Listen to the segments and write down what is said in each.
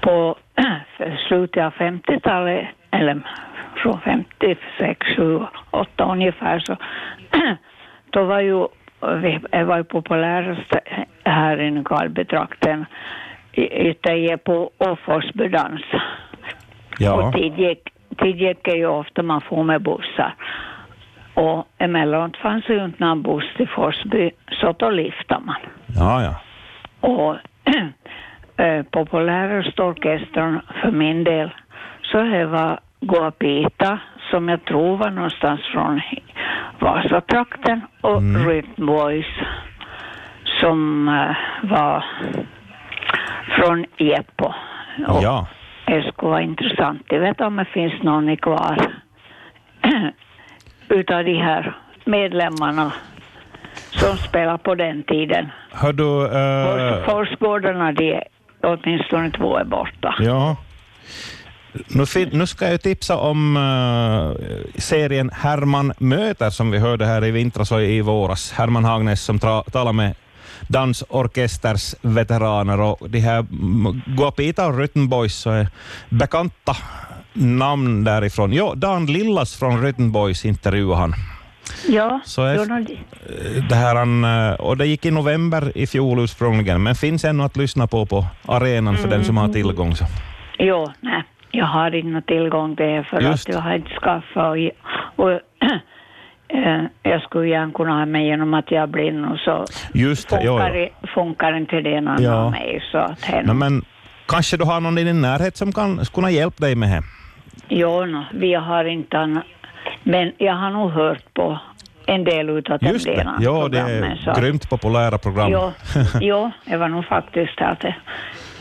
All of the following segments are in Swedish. på slutet av 50-talet, eller från 56, 7, 8 ungefär, så då var ju vi var ju populärast här i Nykarleby-trakten ute i på Åforsbydans. Ja. Och dit gick, dit gick det ju ofta man får med bussar. Och emellanåt fanns det ju inte någon buss till Forsby, så då liftade man. Ja, ja. Och eh, populäraste orkestern för min del, så det var Guapita, som jag tror var någonstans från Vasatrakten, och Rhythm Boys, som eh, var från Jeppo. Och Ja. Det skulle vara intressant, jag vet om det finns någon kvar utav de här medlemmarna som spelar på den tiden. Hör du... Fors- eh, Forsgårdarna, de är åtminstone två är borta. ja. Nu, fin- nu ska jag tipsa om eh, serien Herman möter som vi hörde här i vintras och i våras. Herman Hagnes som tra- talar med dansorkesters veteraner och de här mm, Guapita och Rhythm Boys så är bekanta namn därifrån. Ja, Dan Lillas från Rhythm Boys intervjuade han. Ja, Så är- jo, nå, de- det här, han, eh, och det gick i november i fjol ursprungligen, men finns ännu att lyssna på på arenan för den som Mm. har tillgång. Så. jo, nej. Jag har ingen tillgång till det för Just. att jag har inte skaffat och, jag- och eh, jag skulle gärna kunna ha mig genom att jag är blind och så Just det, jo, funkar, jo. i- funkar inte det någon Ja. av mig. Så att hen, No, men kanske du har någon i din närhet som kan kunna hjälpa dig med det? jo, nå, vi har inte annan, men jag har nog hört på en del utav den Just det, delen av ja, det programmen, så att- är grymt populära program. Jo, jo, det var nog faktiskt att jag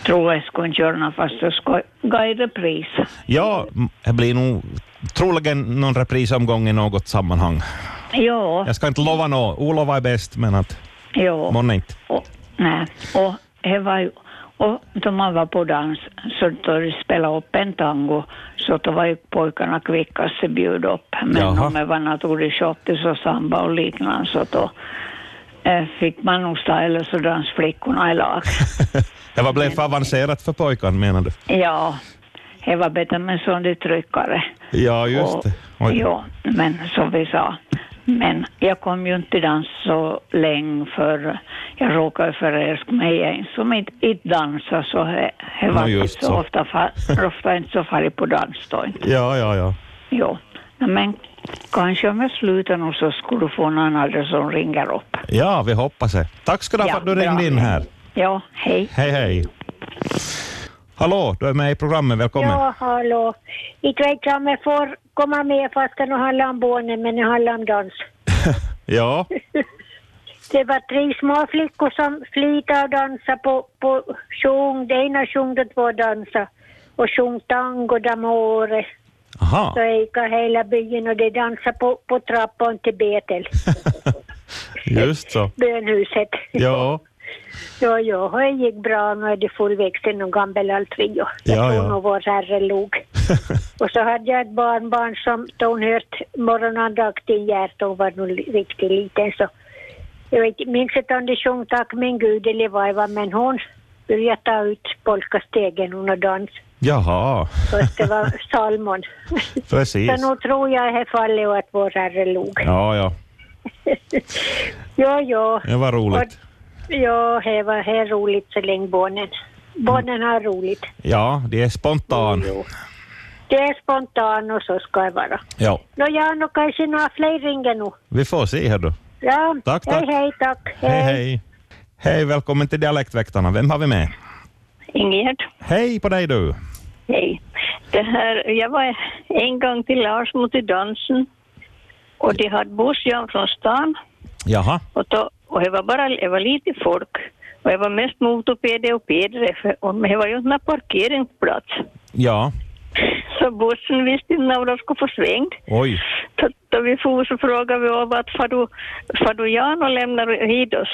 tror jag skulle inte göra något fast jag skulle gå i repris. Ja, m- det blir nog troligen någon reprisomgång i något sammanhang. Jo, Jag ska inte lova något, olova är bäst, men att jo. månne inte. Och, nej, och det var ju... Och då man var på dans, så då de spelade upp en tango, så då var ju pojkarna kvickast att bjuda upp. Men Jaha. om det var naturligt shottis och samba och liknande, så då eh, fick man nog stå, eller så dansflickorna i lag. Det var blev för avancerat för pojkarna menar du? ja, det var bättre med sån där tryckare. Ja, just Och- det. Oj. Ja, men som vi sa. Men jag kom ju inte till dans så länge för jag råkade förälska mig i en som inte, inte dansar så det Nå, var just inte så. så ofta, fa- ofta inte så farligt på dans då inte. Ja, ja, ja. Jo. Nå, Men kanske om jag slutar nu så skulle du få någon annan som ringer upp. Ja, vi hoppas det. Tack ska du ha för att du bra. ringde in här. Ja, hej. Hej, hej. Hallå, du är med i programmet. Välkommen. Ja, hallå. Inte vet jag om jag får komma med fast det nu handlar om barnen, men det handlar om dans. Ja, Det var tre små flickor som flitade och dansade på, på sjung. Det ena sjung, det två dansade. Och sjung tango d'amore. aha. Så eka hela byn och de dansade på, på trappan till Betel, Just så. bönhuset. Ja, Ja, ja, och det gick bra. Nu är de fullväxta, de gamla alla tre. Jag Ja, tror ja. nog vår herre log. Och så hade jag ett barnbarn som då hon hört morgonandakten Gert, hon var nog li- riktigt liten så. Jag vet, minns inte om de sjöng Tack min gud eller vad det var, men hon började ta ut polkastegen hon och dans. jaha. Först det var Salmon. Precis. Så nu tror jag i det här fallet att vår herre log. Ja, ja. Ja, ja. Det var roligt. Ja, det var det är roligt så länge barnen. Barnen har roligt. Ja, det är spontan. Jo. Det är spontan och så ska det vara. Ja, Nå, ja, nu kanske några fler ringer nu. vi får se här då. Ja, Tack, tack. hej, hej, tack. Hej, hej. Hej, välkommen till Dialektväktarna. Vem har vi med? Ingegerd, Hej på dig du. hej. Det här, jag var en gång till Larsmo till dansen och de hade buss jag från stan Jaha. och, då, och det var bara det var lite folk och det var mest motorpeder och pedre för- och men det var ju inte någon parkeringsplats. Ja, Så bussen visste inte när de skulle få sväng. oj. Så då vi for så frågade vi om att far du, far du Jan och lämnar hit oss?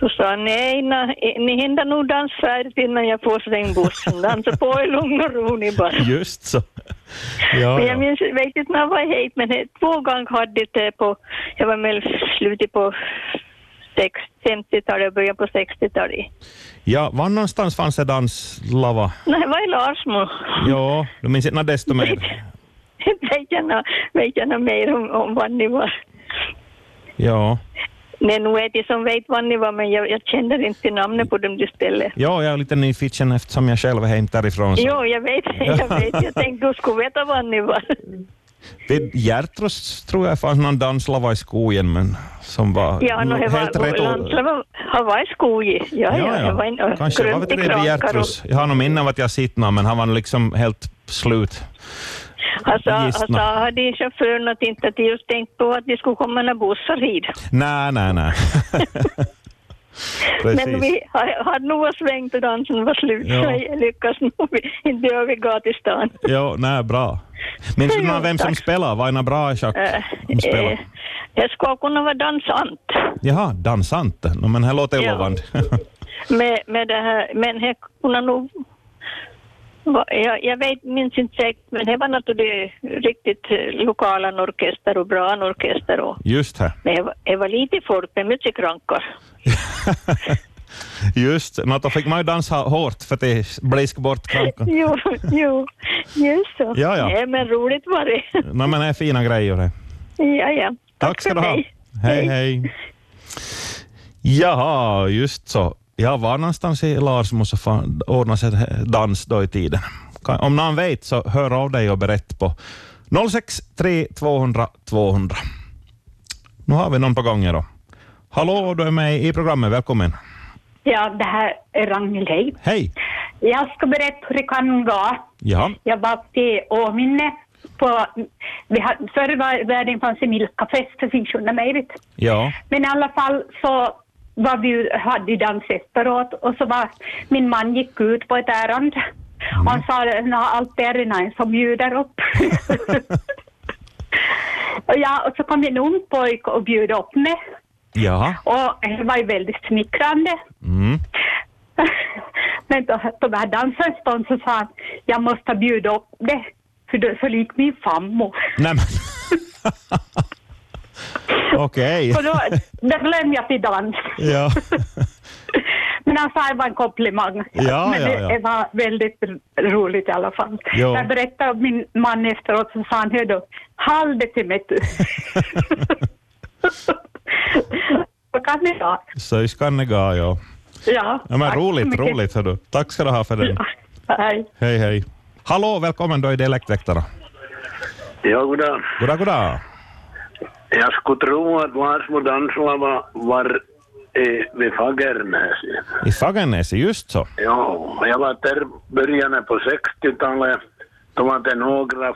Så sa han nej, na, ni hinner nog dansa färdigt innan jag får sväng bussen. Dansa på i lugn och ro ni bara. Just så. Ja, Men ja. jag minns vet inte eh, när jag var hit, men det- två gånger hade det på, jag var med i slutet på sex- 50-talet, början på 60-talet. Ja, var någonstans fanns det danslava? Nej, vad är Larsmo? Ja, du minns inte nå desto mer. Vet jag nå- vet jag nå mer om, om vad ni var? Ja. Nej, nu är det som vet vad ni var, men jag, jag känner inte namnet på dem du ställer. ja, jag är lite nyfiken eftersom jag själv är hem därifrån. så- Jo, jag vet, jag vet. Jag tänkte du skulle veta vad ni var. Vid Gärtros tror jag fanns någon danslava i skogen, men som var Ja, no, det helt var, rätt. landslava har varit skogi. Ja, ja, det var en och Kanske var grönt det i det vid krankar och- Gärtros. Jag har nog minne av att jag sett någon, men han var liksom helt slut. Han sa, han Gistna. sa, hade chauffören att inte att de just tänkt på att det skulle komma några bussar hit. Nej, nej, nej. Men Precis. vi har- hade nog svängt och dansen var slut, Ja. så jag lyckas nog inte övergå till stan. Jo, nej, bra. Minns du Jo, någon vem som tack. spelar? Var det någon bra i schack? Eh, som spelar? eh, Jag skulle kunna vara dansant. Jaha, dansant. No, men här låter Ja. lovande. med, med det här, men här kunde nog... va- Jag, jag vet, minns inte säkert, men det var naturligtvis riktigt eh, lokala orkester och bra orkester. Och, Just här. men det var, det var lite folk med musikrankar. Just, no, då fick man ju dansa hårt för det blisk bort krankan. Jo, jo, just så. Ja, ja. Nej, men roligt var det. No, men det är fina grejer det. Ja, ja. Tack ska för du ha. mig. Hej, hej. Jaha, just så. Ja, var någonstans i Larsmo så fan- ordnas en dans då i tiden. Kan- Om någon vet så hör av dig och berätta på 063 200 200. Nu har vi någon på gång här då. Hallå, du är med i programmet. Välkommen. Ja, det här är Ragnhild. Hej. Hej. Jag ska berätta hur det kan gå. Ja, Jag var uppe i Åminne. På, vi hade, förr var världen fanns i Milkafest, det finns ju inte möjligt. ja, Men i alla fall så var vi, ju- hade ju dans efteråt och så var min man gick ut på ett ärende. Och han sa, "Nå, allt är redan en som bjuder upp. och, ja, och så kom en ung pojke och bjöd upp mig. ja. Och det var ju väldigt smickrande. Mm. Men då, då var dansaren stånd så sa han, jag måste bjuda upp det, för du är så lik min fammo. Nej, men... Okej. Och då, då glömde jag till dans. Ja. Men han sa det var en komplimang. Ja, Men ja, det ja. det var väldigt r- roligt i alla fall. Jo. Jag berättade om min man efteråt så sa han, hör du, håll det till mig du. Så kan det vara. Så i Skannega, ja. Ja, ja men tack så roligt, mycket. roligt. Hördu. Tack ska du ha för den. Hej. Hej, hej. Hallå, välkommen då i Dialektväktarna. Ja, goddag. Goda, goda. Jag skulle tro att Varsmo danslava var eh, vid Fagernäs. I Fagernäs, just så. Ja, och jag var där början på 60-talet. Då var det några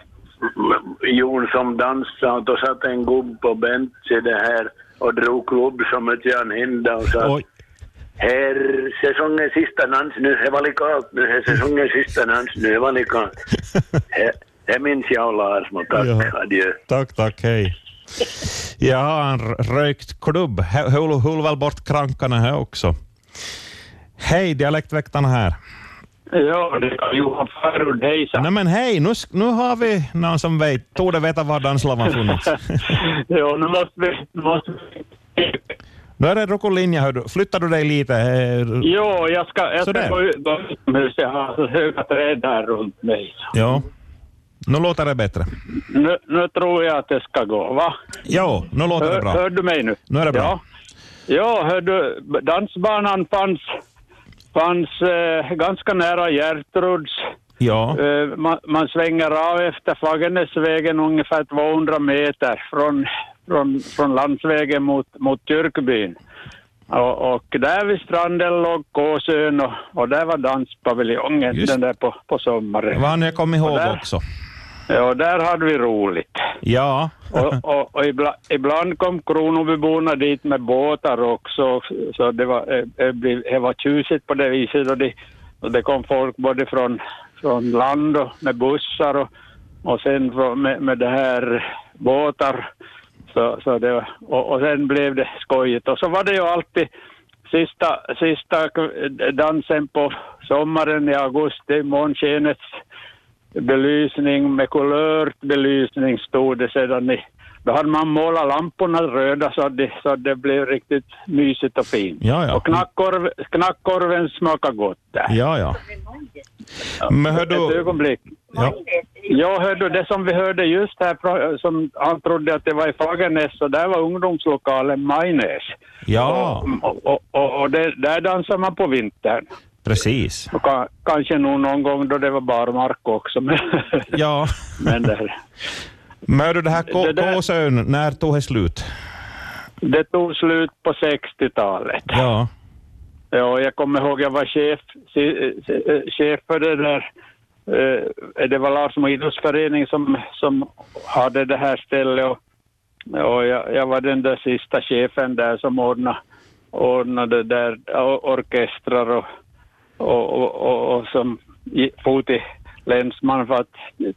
jon som dansade och då satt en gubb på bänk i det här och drog klubb som ett järn hinda och sa Oj. Här säsongens sista dans nu, det var likadant nu, här säsongens sista dans nu, det var likadant. Det- Det minns jag Larsmo, tack, Jaha. adjö. Tack, tack, hej. Ja, en r- rökt klubb. Hö- Höll, höll väl bort krankarna här också. Hej, Dialektväktarna här. Ja, det var Johan Förund, hejsan. Nej men hej, nu, sk- nu har vi någon som vet, torde veta var danslavan funnits. ja, nu måste vi... Nu måste vi. Nu är det Rokolinja, hör du. flyttar du dig lite? eh, Jo, jag ska, jag Sådär. ska gå ut- gå utomhus. Jag har så höga träd här runt mig. Ja. Nu låter det bättre. Nu, nu tror jag att det ska gå, va? Jo, nu låter det Hör, bra. hör du mig nu? Nu är det bra. Ja, ja hör du, dansbanan fanns, fanns eh, ganska nära Gertruds. Ja, Eh, man, man svänger av efter Fagernesvägen ungefär 200 meter från, från, från landsvägen mot, mot Kyrkbyn. Och, och där vid stranden låg Kåsön och, och där var danspaviljongen Just. den där på, på sommaren. vad han jag kom ihåg där. också. Ja, där hade vi roligt. Ja, Och, och, och ibland, ibland kom Kronobyborna dit med båtar också, så det var, eh, det blev, det var tjusigt på det viset. Och det, och det kom folk både från, från land och med bussar och, och sen från, med, med det här båtar. Så, så det, var- och, och sen blev det skojigt. Och så var det ju alltid sista, sista k- dansen på sommaren i augusti, månskenets belysning med kulört belysning stod det sedan i Då hade man målat lamporna röda så att det, så att det blev riktigt mysigt och fint. Ja, ja. Och knackkorv, knackkorven smakar gott där. Ja, ja. Men hör Ett du... ögonblick. Ja. Jag hörde det som vi hörde just här, pra- som han trodde att det var i Fagernäs, så där var ungdomslokalen Majnäs. ja, Och, och, och, och det, där dansar man på vintern. precis. Och ka, kanske nog någon gång då det var barmark också. Men, Ja. men det, här- Men hör du, det här K- Det där- Kåsön, när tog det slut? det tog slut på 60-talet. Ja, Ja, jag kommer ihåg jag var chef, se- se- eh, chef för det där. eh, Det var Larsmo idrottsförening som, som hade det här stället och, och jag, jag var den där sista chefen där som ordnade, ordnade där o- orkestrar och, och, och, och, och som gi- for till länsman för att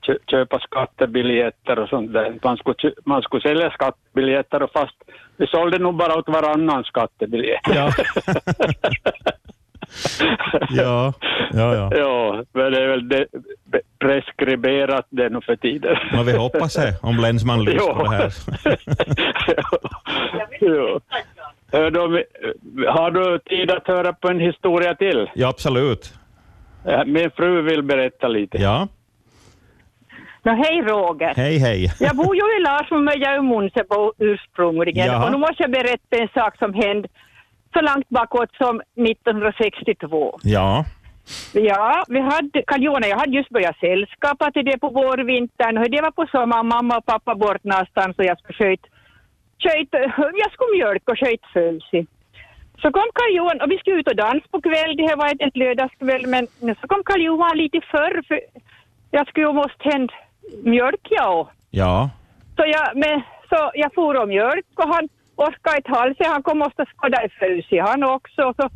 kö- köpa skattebiljetter och sånt där. Man skulle, kö- man skulle sälja skattebiljetter och fast vi sålde nog bara åt varannan skattebiljett. ja. ja, ja, ja. Ja, men det är väl det, preskriberat det nu för tiden. Men vi hoppas det, om länsman lyssnar på det här. ja. Hör du, om- har du tid att höra på en historia till? Ja, absolut. Min fru vill berätta lite. Ja, Nå, hej Roger. hej, hej. Jag bor ju i Larsmo men jag är ju Munsebo ursprungligen Jaha. och nu måste jag berätta en sak som hände så långt bakåt som 1962. Ja, Ja, vi hade, Kaljona, jag hade just börjat sällskapa till det på vårvintern och det var på sommaren, mamma och pappa bort någonstans och jag skulle sköjt, sköjt, jag skulle mjölk och sköjt fölsi. Så kom Karl-Johan och vi skulle ut och dansa på kväll, det här var en lördagskväll, men så kom Karl-Johan lite förr för jag skulle ju måste hända mjölk jag och. ja, Så jag, men, så jag for om mjölk och han orkade inte alls. Han kom och måste skada i frusi han också. Så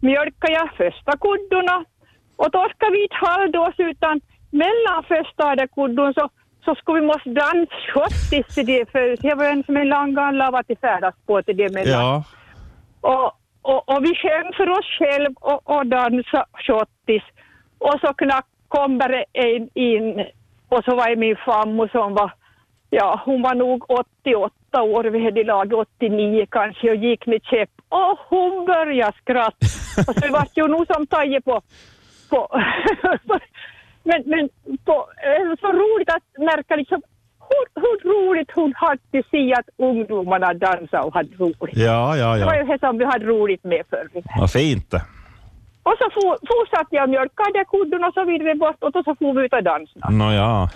mjölkade jag första kuddorna och torskade vi ett halvdås utan mellan första kuddon så, så skulle vi måste dansa schottis till det frusi. Det var en som en lång lava till färdas på till det mellan. ja, Och, och, och vi sjöng för oss själv och, och dansade schottis. Och så knack kom bara en in och så var det min farmor som var, ja hon var nog 88 år vid det laget, 89 kanske och gick med käpp. Och hon började skratta. Och så vart ju nog som taje på, på men, men på, eh, så roligt att märka liksom hur, hur roligt hon hade sett att ungdomarna dansade och hade roligt. ja, ja, Det var ja. ju det som vi hade roligt med förr. Vad fint det. Och så for, fortsatte jag mjölka kudden och så vidare bort och så for vi ut och dansa. Nå ja,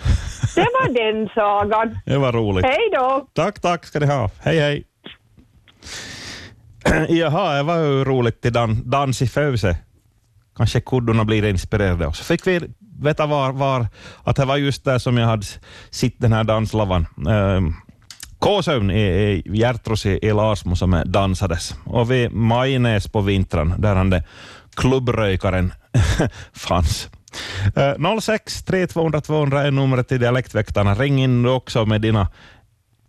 Det var den sagan. det var roligt. Hej då! Tack, tack ska ni ha. Hej, hej. Jaha, det var ju roligt till dan, dans i Föse. Kanske kuddorna blir inspirerade också. Fick vi veta var, var att det var just där som jag hade s- sett den här danslavan. Ehm, Kåsön i, i Hjärtrus i, i Larsmo som är- dansades. Och vid Majnäs på vintern, där han det klubbröjkaren fanns. Eh, 06 3200 200 är numret till Dialektväktarna. Ring in du också med dina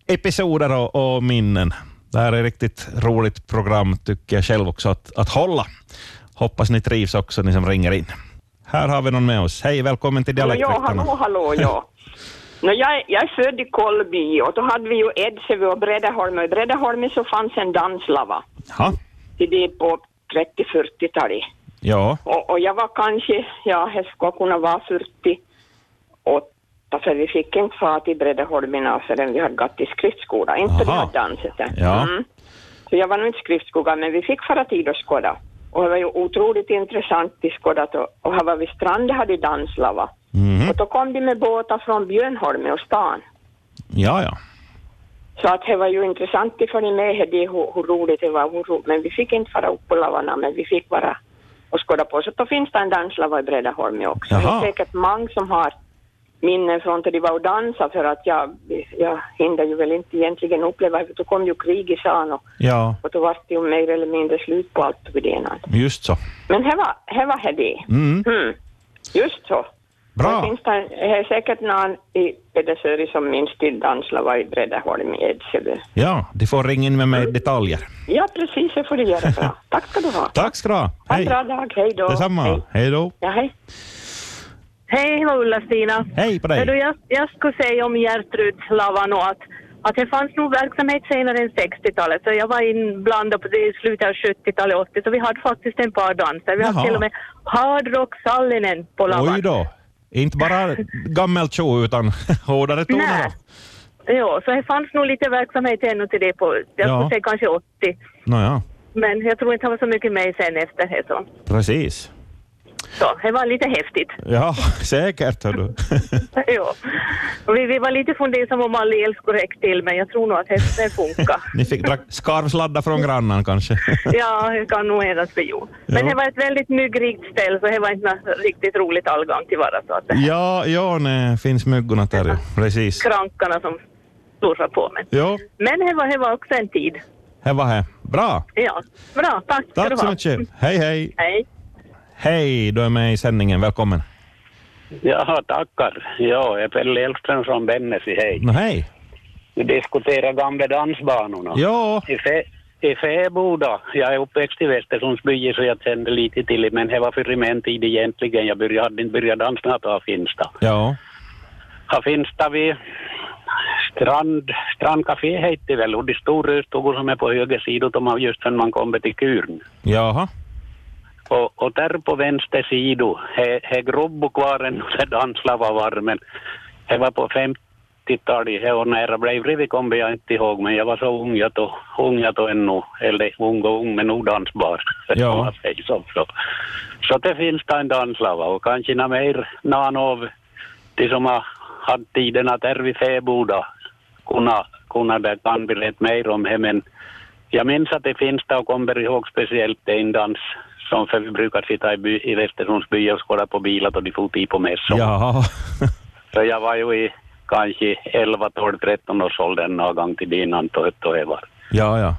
episoder och, och minnen. Det här är ett riktigt roligt program tycker jag själv också att, att hålla. Hoppas ni trivs också ni som ringer in. Här har vi någon med oss. Hej, välkommen till Ja, Dialektväktarna. hallå, hallå, ja. Nå, jag, jag är född i Kolby och då hade vi ju Edseve och Breddeholm och i Breddeholm så fanns en danslava. Ja, Till det på 30-40-talet. ja, Och, och jag var kanske, ja, jag skulle kunna vara 48 för vi fick inte fara till Breddeholmina förrän vi hade gått till skriftskola. Inte vi Aha. hade dansat än. Ja. Mm. Mm. Så jag var nog inte skriftskola men vi fick fara till och skåda. Och det var ju otroligt intressant i skådat och, och här var vid stranden hade danslava. Mhm. Och då kom de med båtar från Björnholme och stan. ja, ja. Så att det var ju intressant att följa med här, det, hur, hur roligt det var. Hur roligt. Men vi fick inte fara upp på lavarna, men vi fick bara och skåda på. Så då finns det en danslava i Bredaholm också. Jaha. Det är säkert många som har minnen från när de var och dansade för att jag, jag hinner ju väl inte egentligen uppleva det. Då kom ju krig i stan och, Ja, och då var det ju mer eller mindre slut på allt vid det ena. just så. Men här var här var här det. Mm. Mm. Just så. Bra. Det finns det, det är säkert någon i Pedersöri som minns till danslava i Bredaholm i Edsele. Ja, de får ringa in med mig Mm. detaljer. Ja, precis, det får du göra bra. Tack ska du ha. Tack ska du ha. Ha en Hej. bra dag, hej då. Hej. Detsamma. Hej då. Ja, hej. Hej, det var Ulla-Stina. Hej på Hördu, dig. Jag, jag skulle säga om Gertrudslavan och att Att det fanns nog verksamhet senare än 60-talet, så jag var inblandad på det i slutet av 70-talet och 80 så vi hade faktiskt en par danser. Vi Jaha. hade till och med Hardrock Sallinen på Oj lavan. då. Inte bara gammel tjo, utan hårdare toner. Nej. då. Ja, så det fanns nog lite verksamhet ännu till det på, jag Ja. skulle säga kanske 80. Nåja, Men jag tror inte han var så mycket med sen efter det. Så. precis. så det var lite häftigt. Ja, säkert. hör du. ja. Och vi, vi var lite fundersamma om all el skulle räcka till, men jag tror nog att hästen funkar. Ni fick dra skarvsladda från grannen kanske. ja, det kan nog hända att vi gjorde. Men Ja. det var ett väldigt myggrikt ställe, så det var inte något riktigt roligt allgång till vara. Så att Ja, ja, nej, finns myggorna där ju. Precis. krankarna som surrade på mig. Jo, Men det var, det var också en tid. här var här. Bra. Ja, bra. Tack ska du Tack så ha. mycket. Hej, hej. Hej. Hej, du är med i sändningen. Välkommen. Jaha, tackar. Ja, jag är Pelle Elfström från Bennesi, hej. Nå, hej. Vi diskuterar gamla dansbanorna. Ja. I, Fe, I Fäboda, jag är uppväxt i Västersundsby så jag kände lite till det, men det var förr i min tid egentligen. Jag började, hade inte börjat dansa på Finsta. Ja. Här finns det vid Strand, Strandcafé heter det väl, och det stora rödstugor som är på höger sida, de har just när man kommer till Kurn. Jaha. Och, och där på vänster sida, här grobbo kvar ännu där danslava var, men det var på 50-talet, det var nära Breivik kommer jag inte ihåg, men jag var så ung jag då, ung jag då ännu, eller ung och ung men odansbar. Ja. om man säger Så, så. så det finns det en danslava och kanske några mer någon av de som har haft tiden att är vid fäboda kunna, kunna det kan vi rätt mer om det, men jag minns att det finns det och kommer ihåg speciellt en dans som för vi brukar sitta i, by, i Västersunds by och skåda på bilar och de får tid på mässan. Jaha. Så jag var ju i kanske 11, 12, 13 års åldern någon gång till innan då då jag var. Ja, ja.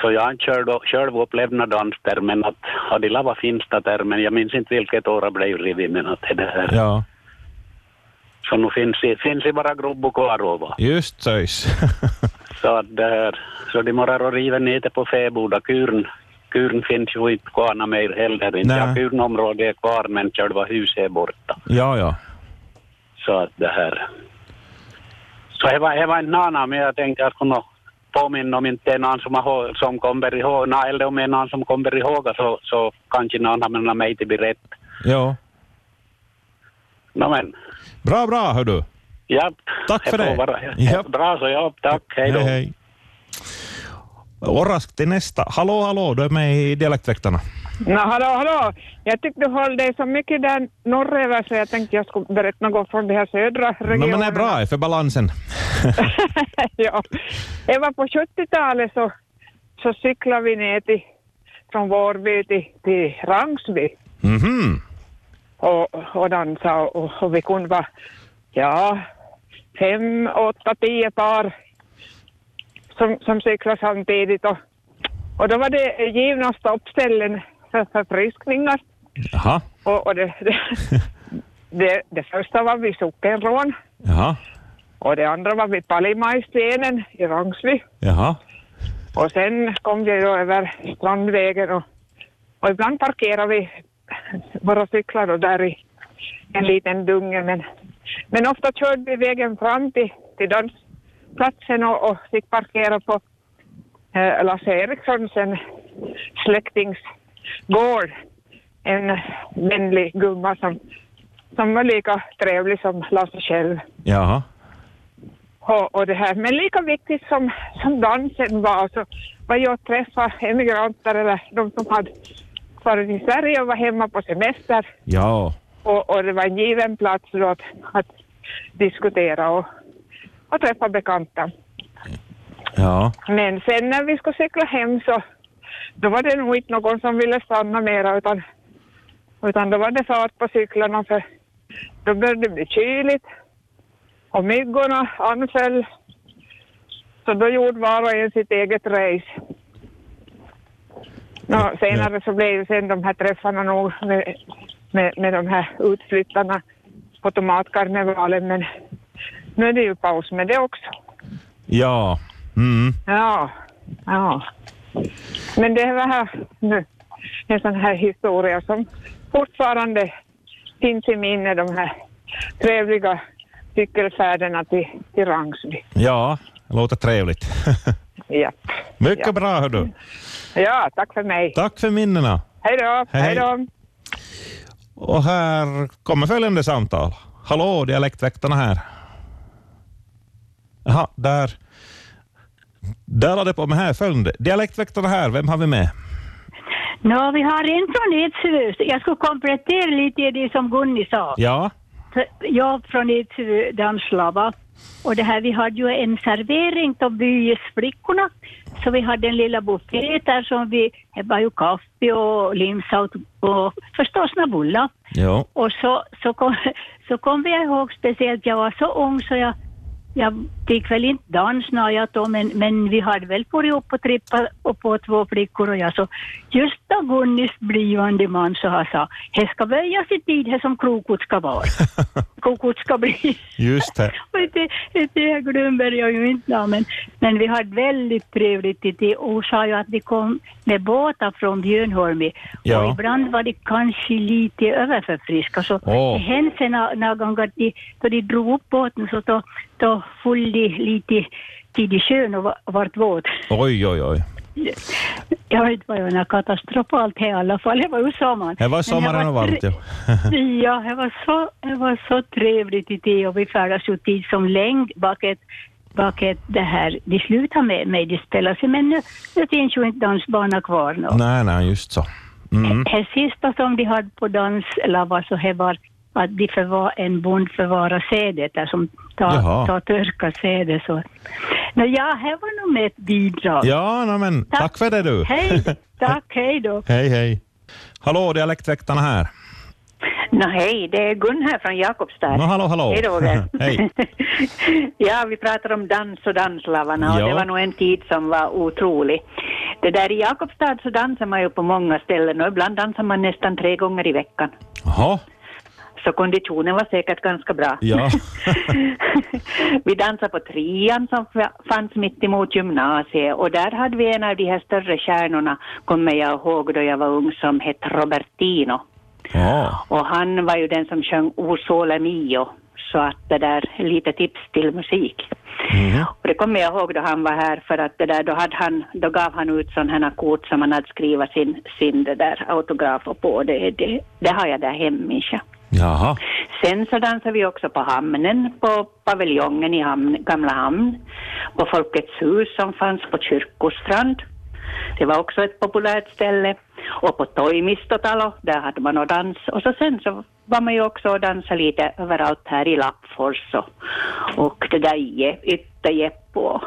Så jag har inte själv- själv upplevt dans där, men att hade lava finns det där, men jag minns inte vilket år det blev rivit, men att det där. Ja. Så nu finns det, finns det bara grobbo kvar ova. Just söjs. Så att där, så de morrar och river ner det på fäboda. Kurn, kurn finns ju inte kvar något mer heller. Inte. Nej. Ja, kurnområdet är kvar, men själva huset är borta. Ja, ja. Så att det här. Så det var, det var en annan, men jag tänkte jag skulle nog påminna om inte en annan som, har- som kommer ihåg, nej, eller om en annan som kommer ihåg så, så kanske någon annan mig till blir rätt. Ja. No, men, Bra, bra, hör du. ja, Tack för det får det. vara- Japp. Bra så, ja, tack, hej då. Hej, hej. Och raskt till nästa. Hallå, hallå, du är med i Dialektväktarna. No, hallå, hallå! Jag tyckte du höll dig så mycket där norröver så jag tänkte jag skulle berätta något från de här södra No, regionerna. men det är bra, för balansen. ja. Jag var på 70-talet så, så cyklade vi ner till, från Vårby till, till Rangsby Mhm. och, och dansade och, och vi kunde vara, ja, fem, åtta, tio par som, som cyklade samtidigt och, och då var det givna stoppställen för förfriskningar Jaha. och, och det, det, det, det första var vid Sockenrån Jaha. och det andra var vid Palimajstenen i Rangsby. Jaha. Och sen kom vi då över Strandvägen och, och ibland parkerade vi våra cyklar då där i en liten dunge. Men, men ofta körde vi vägen fram till, till dansplatsen och, och fick parkera på eh, Lasse Erikssons en släktings gård. En vänlig gumma som, som var lika trevlig som Lasse själv. Jaha. Och, och det här. Men lika viktigt som, som dansen var så var jag att träffa emigranter eller de som hade varit i Sverige och var hemma på semester. Ja. Och, och det var en given plats då att, att diskutera och, och träffa bekanta. Ja. Men sen när vi skulle cykla hem så då var det nog inte någon som ville stanna mera utan, utan då var det fart på cyklarna för då började det bli kyligt och myggorna anföll. Så då gjorde var och en sitt eget race. Nå, senare så blev ju sen de här träffarna nog med, med, med de här utflyttarna på tomatkarnevalen men nu är det ju paus med det också. Ja. Mm. Ja, ja. Men det var här nu, en sån här historia som fortfarande finns i minne, de här trevliga cykelfärderna till, till Rangsby. Ja. låter trevligt. Japp. Mycket Ja. bra, hördu. Ja, tack för mig. Tack för minnena. Hej då. Hej. Hej då. Och här kommer följande samtal. Hallå, dialektväktarna här. Jaha, där. Där la det på med här följande. Dialektväktarna här, vem har vi med? Nå, vi har en från Edsvö. Jag skulle komplettera lite i det som Gunni sa. Ja, För Jag från Edsvö, Danslava. Och det här, vi hade ju en servering av byesflickorna. Så vi hade en lilla buffé där som vi, det var ju kaffe och limsa och, och förstås några bullar. jo. Och så, så, kom, så kom jag ihåg speciellt, jag var så ung så jag, jag fick väl inte dans när jag då, men, men vi hade väl varit upp och trippat och på två flickor och jag så, just då Gunnis blivande man så han sa, he ska böja sig tid he som krokot ska vara. krokot ska bli. Just det. Och det, det glömmer jag ju inte nu, men, men vi hade väldigt trevligt i det och sa ju att vi kom med båtar från Björnholm Ja. och ibland var det kanske lite överförfriska så Åh. det hände sig några några gånger att de, då de drog upp båten så då, då full de lite tid i sjön och va- vart våt. Oj, oj, oj. Jag vet inte vad det var, något katastrofalt här i alla fall. Det var ju sommaren. Det var Men sommaren det och var varmt ju. Ja, det var så, det var så trevligt i det och vi färdas ju tid som längd bak ett, bak ett det här, de slutar med, med de spelar sig, men nu, nu finns ju inte dansbana kvar nu. Nej, nej, just så. Mm. Det sista som de hade på danslava så det var att de förvar, en bond förvarar sädet, där som tar, Jaha. tar törka sädet. Så. Nå, ja, det var nog med ett bidrag. Ja, no, men tack. för det du. Hej, tack, hej då. hej, hej. Hallå, dialektväktarna här. Nå hej, det är Gun här från Jakobstad. Nå, hallå, hallå. Hej Roger. Hej. ja, vi pratar om dans och danslavarna och Ja. det var nog en tid som var otrolig. Det där i Jakobstad så dansar man ju på många ställen och ibland dansar man nästan tre gånger i veckan. Jaha, Så konditionen var säkert ganska bra. ja. Vi dansade på trian som f- fanns mitt emot gymnasiet och där hade vi en av de här större stjärnorna, kommer jag ihåg då jag var ung, som hette Robertino. Ja. Och han var ju den som sjöng O sole mio, så att det där är lite tips till musik. Mm. Och det kommer jag ihåg då han var här för att det där, då, hade han, då gav han ut sådana här kort som han hade skrivit sin, sin det där autograf på. Det, det, det har jag där hemma. Jaha. Sen så dansade vi också på hamnen, på paviljongen i hamn, Gamla hamn, på Folkets hus som fanns på Kyrkostrand. Det var också ett populärt ställe. Och på Toimistotalo, där hade man och dans. Och så sen så var man ju också och dansade lite överallt här i Lappfors och, och det där Je- Ytterjeppo. och-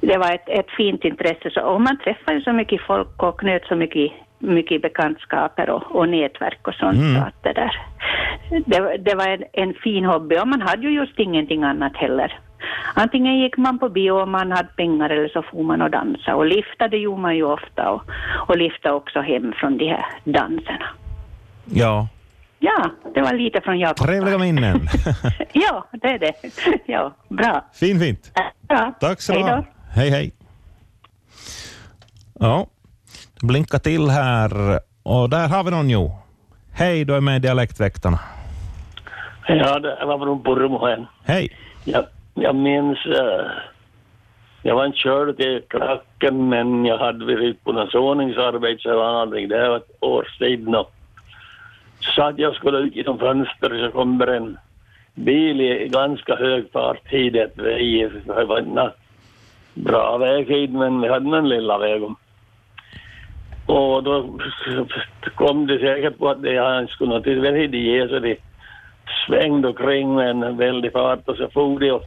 Det var ett, ett fint intresse. Så, och man träffade ju så mycket folk och knöt så mycket, mycket bekantskaper och, och nätverk och sånt. Mm. Så att det där det, det var en, en fin hobby och man hade ju just ingenting annat heller. Antingen gick man på bio om man hade pengar eller så for man och dansa och liftade gjorde man ju ofta och, och liftade också hem från de här danserna. ja. Ja, det var lite från Jakob. Trevliga minnen. Ja, det är det. Ja, bra. Fin, fint. bra. Tack så Hej då. mycket. Hej, hej. Ja, det blinkar till här. Och där har vi någon, jo. Hej, du är med i Dialektväktarna. Ja, det var från Purmohen. Hej. Jag, jag minns... eh, jag var inte körd till klacken, men jag hade vid Rippornas ordningsarbete så jag var aldrig där. Det var ett år sedan. och Så satt jag och skulle ut genom fönstret så kommer en bil i ganska hög fart hit ett väg. Det var inte någon bra väg hit, men vi hade en lilla väg. om. Och då kom det säkert på att det han skulle nog till väl hit i ge, så det svängde omkring med en väldig fart och så for de och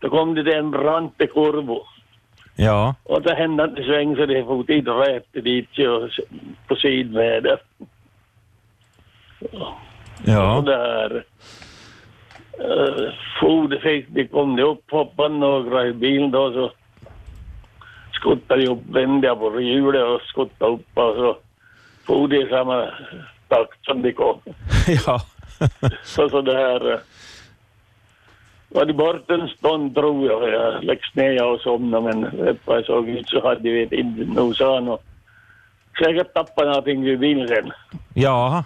då kom det till en brant till kurvo. Ja. Och det hände att det svängde så det for dit rätt dit ju, och s- på sidväder. Ja. Och där uh, for det fick, det kom det upp, hoppade några i bilen då så skuttade jag upp, vände jag på hjulet och skuttade upp och så for det i samma takt som det kom. ja. Så, så det här... eh, Var det bort en stund tror jag. Jag läggs ner jag och somnade men efter jag såg ut så hade vi inte nosan och säkert tappade någonting vid bilen sen. Ja.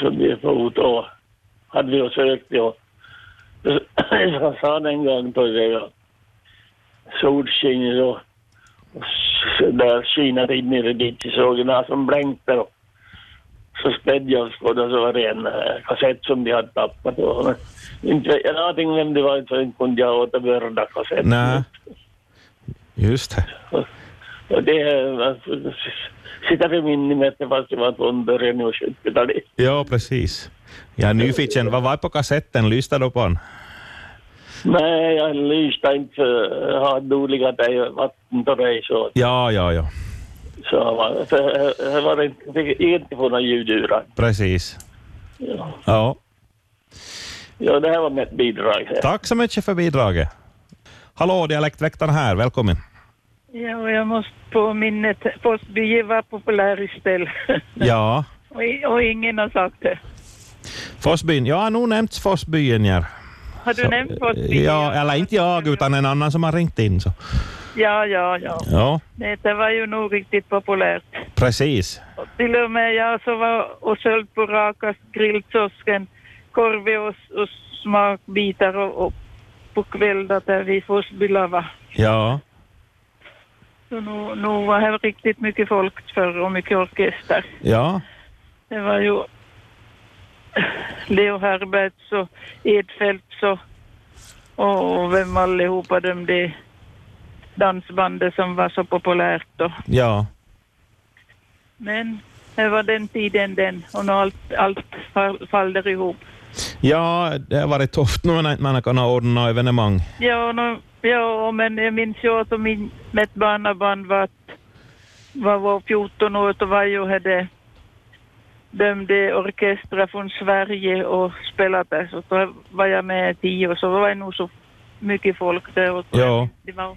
Så vi for ut och hade vi och sökt och Jag sa den gång då det var solsken och och s- där skinade in nere dit i sågarna som blänkte då. Så spädde jag oss på det och så var det en eh, kassett som de hade tappat. Och, men, inte, jag hade ingen vem det var så inte kunde jag återbörda kassetten. Nej. Just det. Och det eh, alltså, sitter för minnet fast det var från början av 70-talet. Ja, precis. Jag är nyfiken. Vad var på kassetten? Lyssnade du på den? Nej, jag lyssnade inte. Jag hade olika dig- vatten på dig så. Ja, ja, ja. Så var- så, eh, var det inte, fick inte få några ljud ur den. Precis. Ja. Ja. ja, det här var mitt bidrag. här. Tack så mycket för bidraget. Hallå, dialektväktaren här. Välkommen. Ja, och jag måste på minnet. Postbye var populär istället. Ja. Och, i- och ingen har sagt det. Forsbyn. Jag har nog nämnt Forsbyn. Ja. Har du nämnt postbye? eh, ja, eller inte jag, utan en annan som har ringt in. Så. Ja, ja, ja. Ja, Nej, Det var ju nog riktigt populärt. precis. Och till och med jag så var och sköld på raka grillkiosken, korv och, och smakbitar och, och på kvällar där vi Forsbylla var. Ja, Så nu, nu var det riktigt mycket folk förr och mycket orkester. ja, Det var ju Leo Herberts och Edfeldts och, och vem allihopa de det dansbandet som var så populärt då. ja. Men det var den tiden den och nu allt, allt fall- faller ihop. Ja, det har varit tufft nu när man har kunnat ordna evenemang. Ja, no, ja men jag minns ju att min, mitt barnabarn var, var, var 14 år och var ju hade dömde orkestrar från Sverige och spelade där. Så då var jag med i tio och så var det nog så mycket folk där. Och Ja, det var,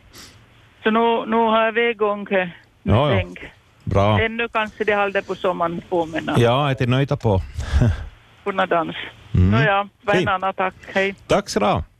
så nu, nu har vi igång här. ja, ja. tänk. Bra. Ännu kanske de håller på sommaren på med att Ja, jag är nöjda på. kunna dansa. Mm. Nåja, vad Hej. en annan tack. Hej. Tack så du ha.